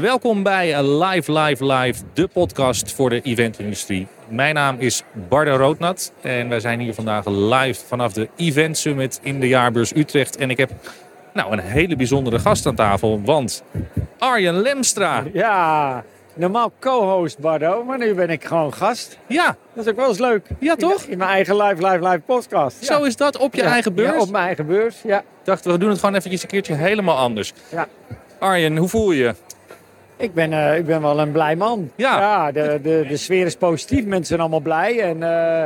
Welkom bij Live Live Live, de podcast voor de eventindustrie. Mijn naam is Bardo Roodnat en wij zijn hier vandaag live vanaf de Event Summit in de Jaarbeurs Utrecht. En ik heb nou, een hele bijzondere gast aan tafel, want Arjen Lemstra. Ja, normaal co-host Bardo, maar nu ben ik gewoon gast. Ja, Dat is ook wel eens leuk. Ja, In- toch? In, mijn eigen live, live, live podcast. Ja. zo is dat op je Ja, eigen beurs. Ja, op mijn eigen beurs, ja. dacht, we doen het gewoon eventjes een keertje helemaal anders. Ja. Arjen, hoe voel je? Ik ben, eh, ik ben wel een blij man. Ja. de, de, de sfeer is positief, mensen zijn allemaal blij. En eh,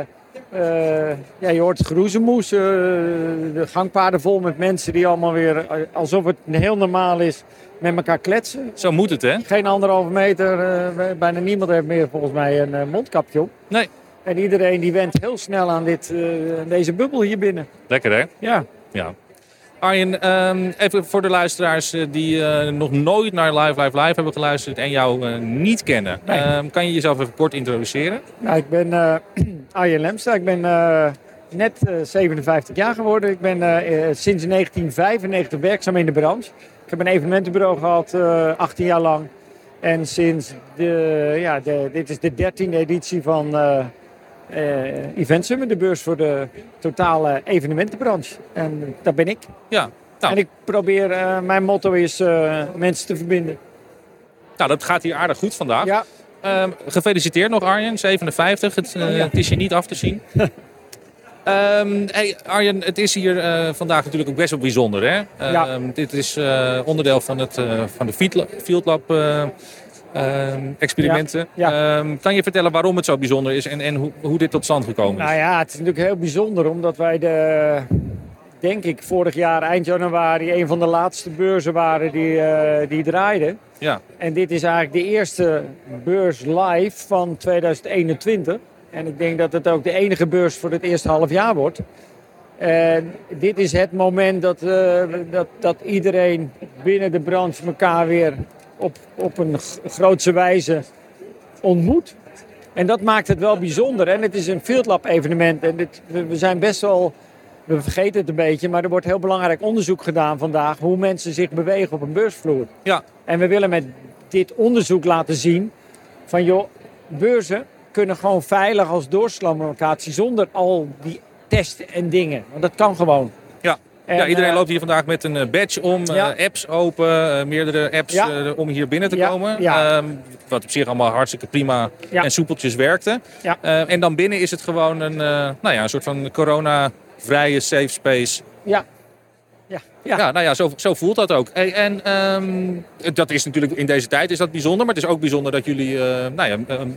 eh, ja, je hoort groezemoes, eh, de gangpaden vol met mensen die allemaal weer, eh, alsof het heel normaal is, met elkaar kletsen. Zo moet het, hè? Geen anderhalve meter, eh, bijna niemand heeft meer volgens mij een eh, mondkapje op. Nee. En iedereen die went heel snel aan, dit, eh, aan deze bubbel hier binnen. Lekker, hè? Ja. Ja. Arjen, ehm, even voor de luisteraars eh, die eh, nog nooit naar Live Live Live hebben geluisterd en jou eh, niet kennen. Nee. Ehm, kan je jezelf even kort introduceren? Nou, ik ben eh Arjen Lemstra. Ik ben eh, net eh, 57 jaar geworden. Ik ben eh, eh, sinds 1995 werkzaam in de branche. Ik heb een evenementenbureau gehad, eh, 18 jaar lang. En sinds, de, ja, de, dit is de 13e editie van eh eh, Event Summit, de beurs voor de totale evenementenbranche. En dat ben ik. Ja. Nou. En ik probeer, eh, mijn motto is eh, mensen te verbinden. Nou, dat gaat hier aardig goed vandaag. Ja, Ehm, gefeliciteerd nog Arjen, 57. Het, Oh, eh, het is je niet af te zien. Ehm, hey, Arjen, het is hier eh, vandaag natuurlijk ook best wel bijzonder. Hè? Ja. Ehm, Dit is eh, onderdeel van, het, eh, van de Field Lab- Field Lab eh, ehm, experimenten. Ja, Ehm, kan je vertellen waarom het zo bijzonder is en, en hoe, hoe dit tot stand gekomen is? Nou ja, het is natuurlijk heel bijzonder omdat wij de, denk ik, vorig jaar eind januari een van de laatste beurzen waren die, eh, die draaiden. Ja. En dit is eigenlijk de eerste beurs live van 2021. En ik denk dat het ook de enige beurs voor het eerste half jaar wordt. En dit is het moment dat, eh, dat, dat iedereen binnen de branche elkaar weer op, op een g- grootse wijze ontmoet. En dat maakt het wel bijzonder. En het is een fieldlab evenement. En dit, we we zijn best wel, we vergeten het een beetje, maar er wordt heel belangrijk onderzoek gedaan vandaag hoe mensen zich bewegen op een beursvloer. Ja. En we willen met dit onderzoek laten zien van joh, beurzen kunnen gewoon veilig als doorslamlocatie zonder al die testen en dingen. Want dat kan gewoon. Ja. En, ja, iedereen eh, loopt hier vandaag met een eh, badge om, eh, Ja. apps open, eh, meerdere apps Ja. eh, om hier binnen te Ja, komen. ja. Ehm, wat op zich allemaal hartstikke prima Ja. en soepeltjes werkte. Ja. Eh, en dan binnen is het gewoon een, eh, nou ja, een soort van corona-vrije safe space. Ja. Ja. Ja. ja. nou ja, zo, zo voelt dat ook. Hey, en ehm, dat is natuurlijk in deze tijd is dat bijzonder, maar het is ook bijzonder dat jullie eh, nou ja, eh, eh,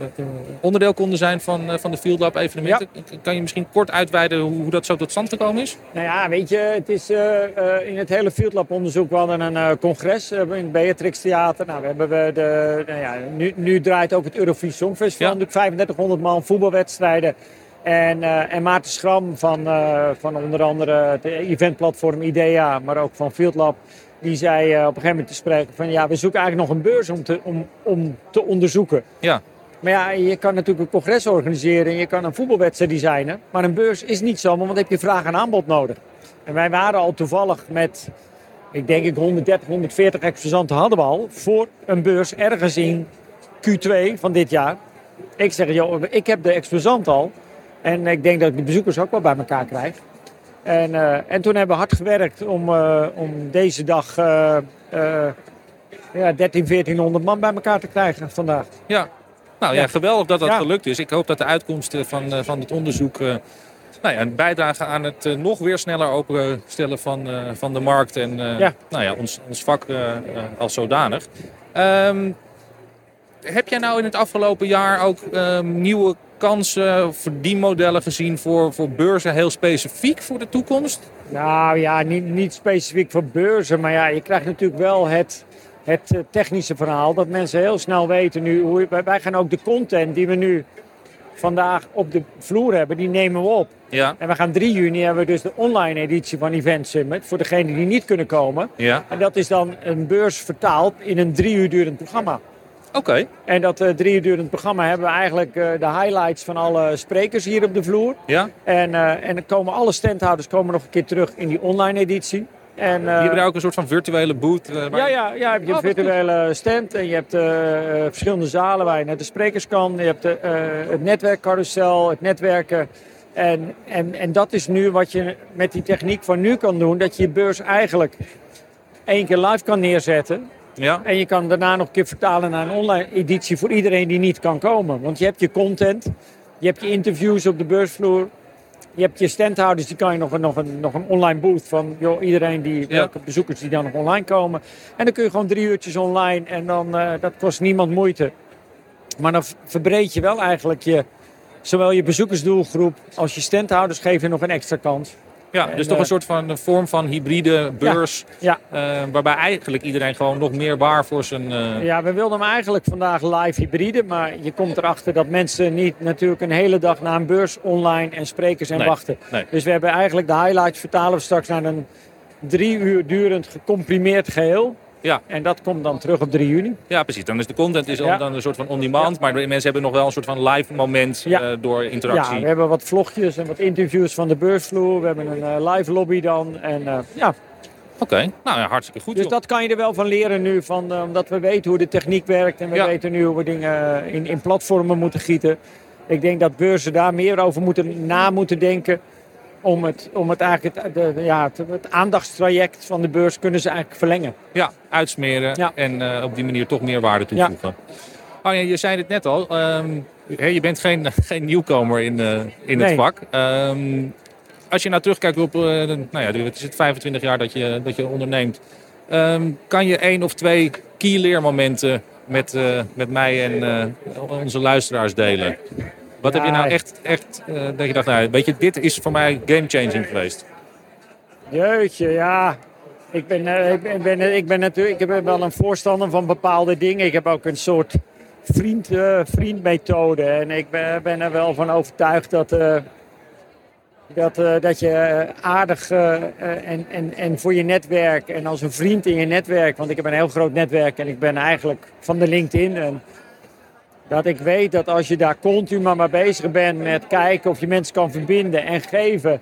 onderdeel konden zijn van, eh, van de Field Lab evenementen. Kan je misschien kort uitweiden hoe, hoe dat zo tot stand gekomen is? Nou ja, weet je, het is eh, eh, in het hele fieldlab onderzoek. We hadden een eh, congres eh, in het Beatrix Theater. Nou, we hebben we de, nou ja, nu, nu draait ook het Eurovisie Songfestival. Ja. Natuurlijk 3500 man voetbalwedstrijden. En, eh, en Maarten Schram van, eh, van onder andere het eventplatform IDEA, maar ook van Fieldlab. Die zei eh, op een gegeven moment te spreken van ja, we zoeken eigenlijk nog een beurs om te, om, om te onderzoeken. Ja. Maar ja, je kan natuurlijk een congres organiseren en je kan een voetbalwedstrijd designen. Maar een beurs is niet zomaar, want dan heb je vraag en aanbod nodig. En wij waren al toevallig met, ik denk ik 130, 140 exposanten hadden we al voor een beurs ergens in Q2 van dit jaar. Ik zeg, joh, ik heb de exposant al en ik denk dat ik de bezoekers ook wel bij elkaar krijg. En, eh, en toen hebben we hard gewerkt om, eh, om deze dag eh, eh, ja, 13, 1400 man bij elkaar te krijgen vandaag. Ja, nou ja, Ja. geweldig dat dat Ja. gelukt is. Ik hoop dat de uitkomsten van, eh, van het onderzoek eh, nou ja, een bijdrage aan het eh, nog weer sneller openstellen van, eh, van de markt en eh, Ja. Nou ja, ons, ons vak eh, eh, als zodanig. Ehm, heb jij nou in het afgelopen jaar ook ehm, nieuwe kansen, verdienmodellen gezien voor, voor beurzen heel specifiek voor de toekomst? Nou ja, niet, niet specifiek voor beurzen, maar ja, je krijgt natuurlijk wel het, het eh, technische verhaal. Dat mensen heel snel weten nu, hoe, je- wij, wij gaan ook de content die we nu vandaag op de vloer hebben, die nemen we op. Ja, En we gaan 3 juni hebben we dus de online editie van Event Summit, voor degenen die niet kunnen komen. ja. En dat is dan een beurs vertaald in een drie uur durend programma. oké. En dat eh, drie uur durend programma hebben we eigenlijk eh, de highlights van alle sprekers hier op de vloer. Ja, En, eh, en er komen alle standhouders komen nog een keer terug in die online editie. En, Die eh, hebben daar ook een soort van virtuele boot. eh, waar- ja, ja, ja, je hebt Oh, een wat virtuele stand en je hebt eh, eh, verschillende zalen waar je naar de sprekers kan. Je hebt de, eh, het netwerkcarousel, het netwerken. En, en, en dat is nu wat je met die techniek van nu kan doen. Dat je je beurs eigenlijk één keer live kan neerzetten. ja. En je kan daarna nog een keer vertalen naar een online editie voor iedereen die niet kan komen. Want je hebt je content, je hebt je interviews op de beursvloer. Je hebt je standhouders, die kan je nog een, nog een, nog een online booth van joh, iedereen die, welke bezoekers die dan nog online komen. En dan kun je gewoon drie uurtjes online en dan, eh, dat kost niemand moeite. Maar dan v- verbreed je wel eigenlijk je, zowel je bezoekersdoelgroep als je standhouders geef je nog een extra kans. Ja, En, dus toch eh, een soort van een vorm van hybride beurs. ja. eh, waarbij eigenlijk iedereen gewoon nog meer waar voor zijn. eh, Ja, we wilden hem eigenlijk vandaag live hybride. Maar je komt erachter dat mensen niet natuurlijk een hele dag naar een beurs online en sprekers en Nee, wachten. nee. Dus we hebben eigenlijk de highlights vertalen we straks naar een drie uur durend gecomprimeerd geheel. Ja. En dat komt dan terug op 3 juni. ja, precies. Dan is de content is al Ja. dan een soort van on-demand. Maar de mensen hebben nog wel een soort van live moment Ja. eh, door Ja, interactie. we hebben wat vlogjes en wat interviews van de beursvloer. We hebben een eh, live lobby dan. En, eh, ja. Oké, nou ja, hartstikke goed. Dus joh. dat kan je er wel van leren nu, van, eh, omdat we weten hoe de techniek werkt. En we Ja. weten nu hoe we dingen eh, in, in platformen moeten gieten. Ik denk dat beurzen daar meer over moeten, na moeten denken. Om het, om het, eigenlijk het, de- ja, het, het aandachtstraject van de beurs kunnen ze eigenlijk verlengen. Ja, uitsmeren Ja. en eh, op die manier toch meer waarde toevoegen. Oh, ja, je zei het net al, ehm, hè, je bent geen, geen nieuwkomer in, eh, in het Nee. vak. Ehm, als je nou terugkijkt op eh, nou ja, het is het 25 jaar dat je, dat je onderneemt, ehm, kan je één of twee key leermomenten met, eh, met mij en eh, onze luisteraars delen? Wat heb je Ja. nou echt, echt eh, dat je dacht, nou, weet je, dit is voor mij gamechanging geweest? Jeetje, ja. Ik ben, eh, ik ben, ik ben, ik ben natuurlijk ik ben wel een voorstander van bepaalde dingen. Ik heb ook een soort vriend, eh, vriendmethode. En ik ben, ben er wel van overtuigd dat, eh, dat, eh, dat je eh, aardig eh, eh, en, en, en voor je netwerk en als een vriend in je netwerk. Want ik heb een heel groot netwerk en ik ben eigenlijk van de LinkedIn. En dat ik weet dat als je daar continu maar mee bezig bent met kijken of je mensen kan verbinden en geven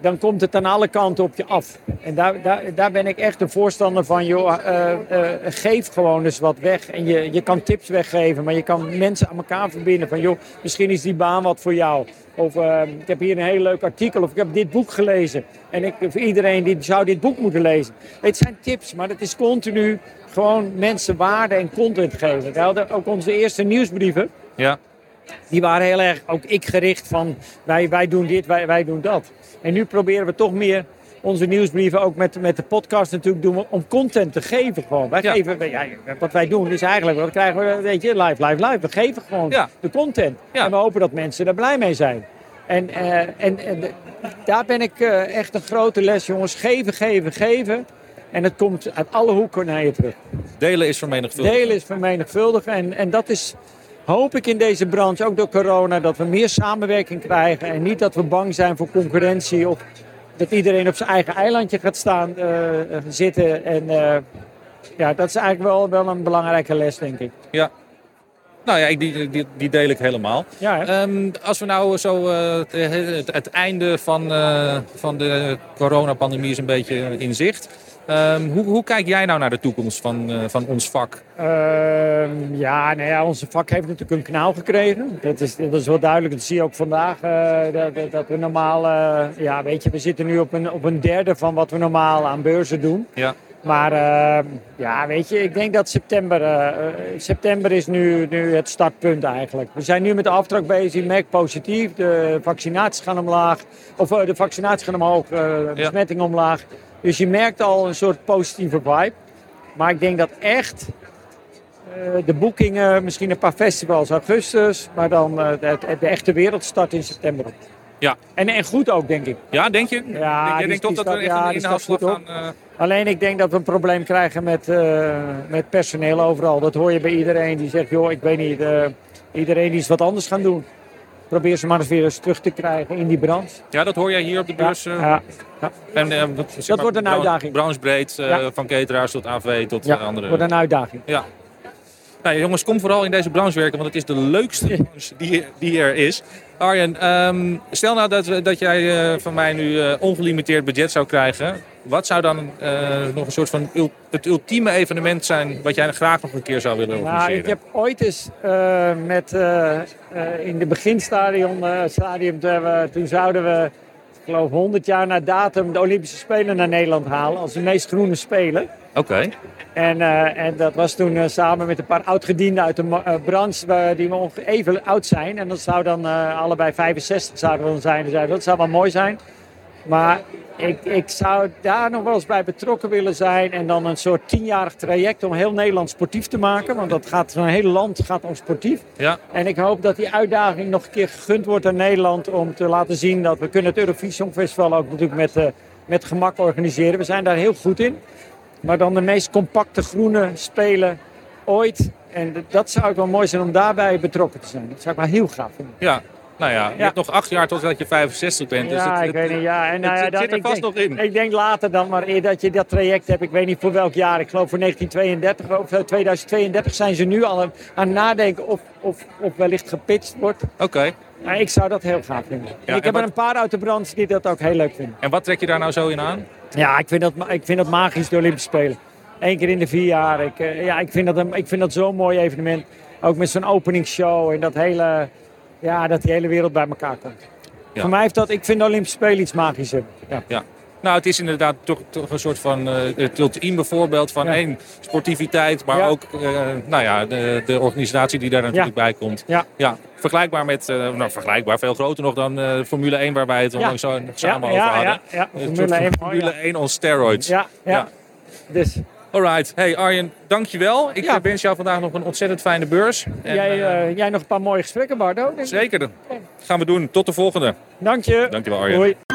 dan komt het aan alle kanten op je af. En daar, daar, daar ben ik echt een voorstander van. Joh, eh, eh, geef gewoon eens wat weg. En je, je kan tips weggeven, maar je kan mensen aan elkaar verbinden. Van joh, misschien is die baan wat voor jou. Of eh, ik heb hier een heel leuk artikel. Of ik heb dit boek gelezen. En ik, voor iedereen die zou dit boek moeten lezen. Het zijn tips, maar het is continu gewoon mensen waarde en content geven. We hadden ook onze eerste nieuwsbrieven. Ja, Die waren heel erg ook ik gericht van wij, wij doen dit, wij, wij doen dat. En nu proberen we toch meer onze nieuwsbrieven ook met, met de podcast natuurlijk doen we om content te geven gewoon. Wij Ja. geven, wij- ja, wat wij doen is eigenlijk, wat krijgen we, weet je, live, live, live. We geven gewoon Ja. de content. Ja. En we hopen dat mensen daar blij mee zijn. En, eh, en, en de- daar ben ik eh, echt een grote les, jongens. Geven, geven, geven. En het komt uit alle hoeken naar je terug. delen is vermenigvuldigen. Delen is vermenigvuldig. En, en dat is, hoop ik in deze branche, ook door corona, dat we meer samenwerking krijgen. En niet dat we bang zijn voor concurrentie of dat iedereen op zijn eigen eilandje gaat staan eh, eh, zitten. En eh, ja, dat is eigenlijk wel, wel een belangrijke les, denk ik. Nou ja, ik, die, die, die deel ik helemaal. Ja, hè? Ehm, als we nou zo eh, het, het- het einde van, eh, van de coronapandemie is een beetje in zicht. Ehm, hoe, hoe kijk jij nou naar de toekomst van, eh, van ons vak? Ehm, ja, nou ja, onze vak heeft natuurlijk een kanaal gekregen. Dat is, dat is wel duidelijk. Dat zie je ook vandaag. eh, dat- dat, dat we normaal, eh, ja, weet je, we zitten nu op een, op een derde van wat we normaal aan beurzen doen. Ja. Maar eh, ja, weet je, ik denk dat september, eh, eh, september is nu, nu het startpunt eigenlijk. We zijn nu met de aftrap bezig, ik merk positief. De vaccinaties gaan omlaag, of eh, de vaccinaties gaan omhoog, eh besmettingen omlaag. Dus je merkt al een soort positieve vibe. Maar ik denk dat echt eh, de boekingen, misschien een paar festivals augustus, maar dan eh, de, de echte wereld start in september. Ja. En, en goed ook, denk ik. Ja, denk je? Ja, Denk- die- je denkt toch die dat er staat- echt ja, een die staat inhoudsslag goed aan... op. eh, Alleen ik denk dat we een probleem krijgen met, eh, met personeel overal. Dat hoor je bij iedereen die zegt, joh, ik weet niet, eh, iedereen die is wat anders gaan doen. Probeer ze maar eens weer eens terug te krijgen in die branche. ja, dat hoor jij hier op de Ja, beurs. eh, ja. en, eh, wat- zeg maar, wordt een branche- uitdaging. Branchebreed, eh, Ja. van cateraars tot AV tot ja, eh, andere... wordt een uitdaging. Ja. Nou jongens, kom vooral in deze branche werken, want het is de leukste branche die, die er is. Arjen, ehm, stel nou dat, we- dat jij eh, van mij nu eh, ongelimiteerd budget zou krijgen. Wat zou dan eh, nog een soort van ul- het ultieme evenement zijn wat jij graag nog een keer zou willen Nou, organiseren? ik heb ooit eens eh, met, eh, eh, in de beginstadium, eh, stadium, toen, hebben we- toen zouden we, ik geloof 100 jaar na datum, de Olympische Spelen naar Nederland halen. Als de meest groene Spelen. Oké, En, eh, en dat was toen eh, samen met een paar oud-gedienden uit de ma- eh, branche eh, die ongeveer even oud zijn. En dat zou dan eh, allebei 65 zouden we dan zijn. Dus ja, dat zou wel mooi zijn. Maar ik, ik zou daar nog wel eens bij betrokken willen zijn. En dan een soort tienjarig traject om heel Nederland sportief te maken. Want dat gaat, zo'n hele land gaat om sportief. ja. En ik hoop dat die uitdaging nog een keer gegund wordt aan Nederland om te laten zien dat we kunnen het Eurovisie Songfestival ook natuurlijk met, eh, met gemak organiseren. We zijn daar heel goed in. Maar dan de meest compacte groene spelen ooit. En d- dat zou ook wel mooi zijn om daarbij betrokken te zijn. Dat zou ik wel heel graag vinden. ja. Nou ja, je Ja. hebt nog acht jaar totdat je 65 bent. dus ja, het- ik het- weet niet. Ja, en, nou het ja, zit- dan, zit er ik vast denk, nog in. Ik denk later dan maar eer dat je dat traject hebt. Ik weet niet voor welk jaar. Ik geloof voor 1932 of eh, 2032 zijn ze nu al aan, aan het nadenken of, of, of wellicht gepitcht wordt. Oké, Maar ik zou dat heel graag vinden. En en ik heb wat- er een paar uit de branche die dat ook heel leuk vinden. en wat trek je daar nou zo in aan? Ja, ik vind dat, ma- ik vind dat magisch, de Olympische Spelen. Eén keer in de vier jaar. Ik, eh, ja, ik vind dat, een- ik vind dat zo'n mooi evenement. Ook met zo'n openingsshow en dat hele, ja, dat die hele wereld bij elkaar komt. Ja. Voor mij heeft dat, ik vind de Olympische Spelen iets magisch hebben. Ja. Ja. Nou, het is inderdaad toch, toch een soort van eh het ultieme voorbeeld van Ja. één, sportiviteit, maar Ja. ook eh, nou ja, de, de organisatie die daar natuurlijk bij komt. Ja. Ja, vergelijkbaar met, eh, nou vergelijkbaar, veel groter nog dan eh, Formule 1 waar wij het onlangs zo samen ja, over hadden. ja, ja. Een soort Formule van 1. Formule 1 on steroids. Ja, ja. Ja. ja. Dus Alright. Hey Arjen, dankjewel. Ik eh, Ja. wens jou vandaag nog een ontzettend fijne beurs. En, jij, eh, eh, jij nog een paar mooie gesprekken, Bardo? denk ik. zeker. Gaan we doen. Tot de volgende. Dank je. Dankjewel Arjen. Hoi.